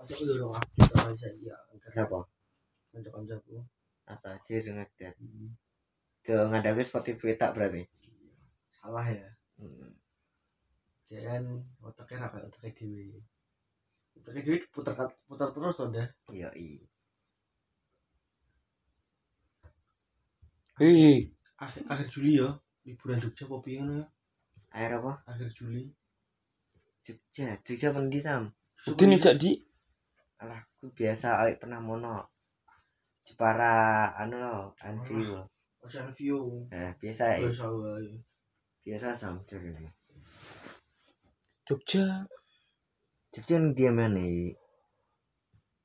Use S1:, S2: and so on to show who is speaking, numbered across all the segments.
S1: aku yo rong abdi karo isa iya
S2: Sapa?
S1: kanca-kancaku.
S2: Asa ciri ngedit. Tuh ngadaku Spotify tak berarti.
S1: Salah ya.
S2: Hmm.
S1: Jangan otaknya ra kayak otaknya dhewe. Otaknya dhewe putar putar terus to, Dah.
S2: Yo i.
S3: Hei,
S1: Akhir, akhir Juli ya, liburan Jogja apa piye ngono ya?
S2: Air apa?
S1: Akhir Juli.
S2: Jogja. Jogja pendi sam.
S3: udah nih cak di.
S2: Alah, aku biasa awake pernah mono. Jepara anu no, Anfield.
S1: Ocean View.
S2: Nah, biasa eh.
S1: Wis wae.
S2: Biasa sam ciri.
S3: Jogja.
S2: Jogja yang dia mana? i?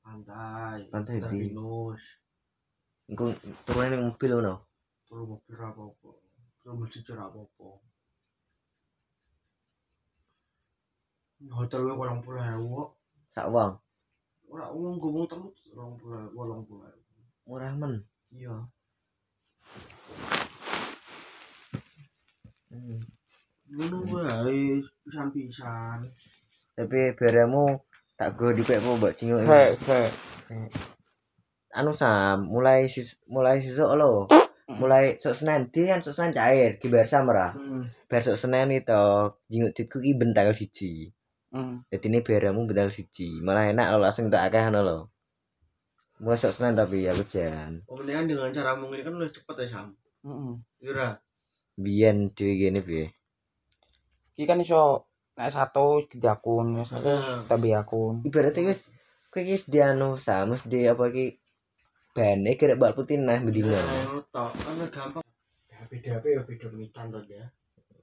S1: Pantai.
S2: Pantai
S1: Putar
S2: di-
S1: Pinus.
S2: Engko turun ning mobil ngono.
S1: Turu mobil ra apa-apa. Turu masjid ra apa-apa. Hotel wae 80.000 kok.
S2: Sak wong.
S1: Ora umum gomong telu 20.000, 80.000.
S2: Murah men.
S1: Iya.
S2: Hmm.
S1: Ngono wae eh, pisan-pisan.
S2: Tapi beramu tak go di kok mbok cinyo.
S3: Hei, hei.
S2: anu sam mulai sis mulai sesuk lo mulai sok senen dia kan sok senen cair di bersa merah
S1: Hmm.
S2: bar sok senen itu jenguk ditku ki ben tanggal siji
S3: Hmm.
S2: jadi ini beramu ben tanggal siji malah enak lo langsung tak akeh anu lo mulai sok senen tapi ya aku jan
S1: Pemilihan dengan cara mungkin kan lebih cepet ya Sam.
S3: hmm,
S1: Iya ra?
S2: biyen dhewe gini piye
S3: Iki kan iso nek satu di akun, nek satu
S1: Hmm.
S3: tapi akun.
S2: ibaratnya wis kowe iki wis di anu sam wis di apa ki
S1: Eh,
S2: bane kira bal putih nah bedino
S1: Nah, ngono tok. Kan gampang. HP-HP ya beda mitan to ya.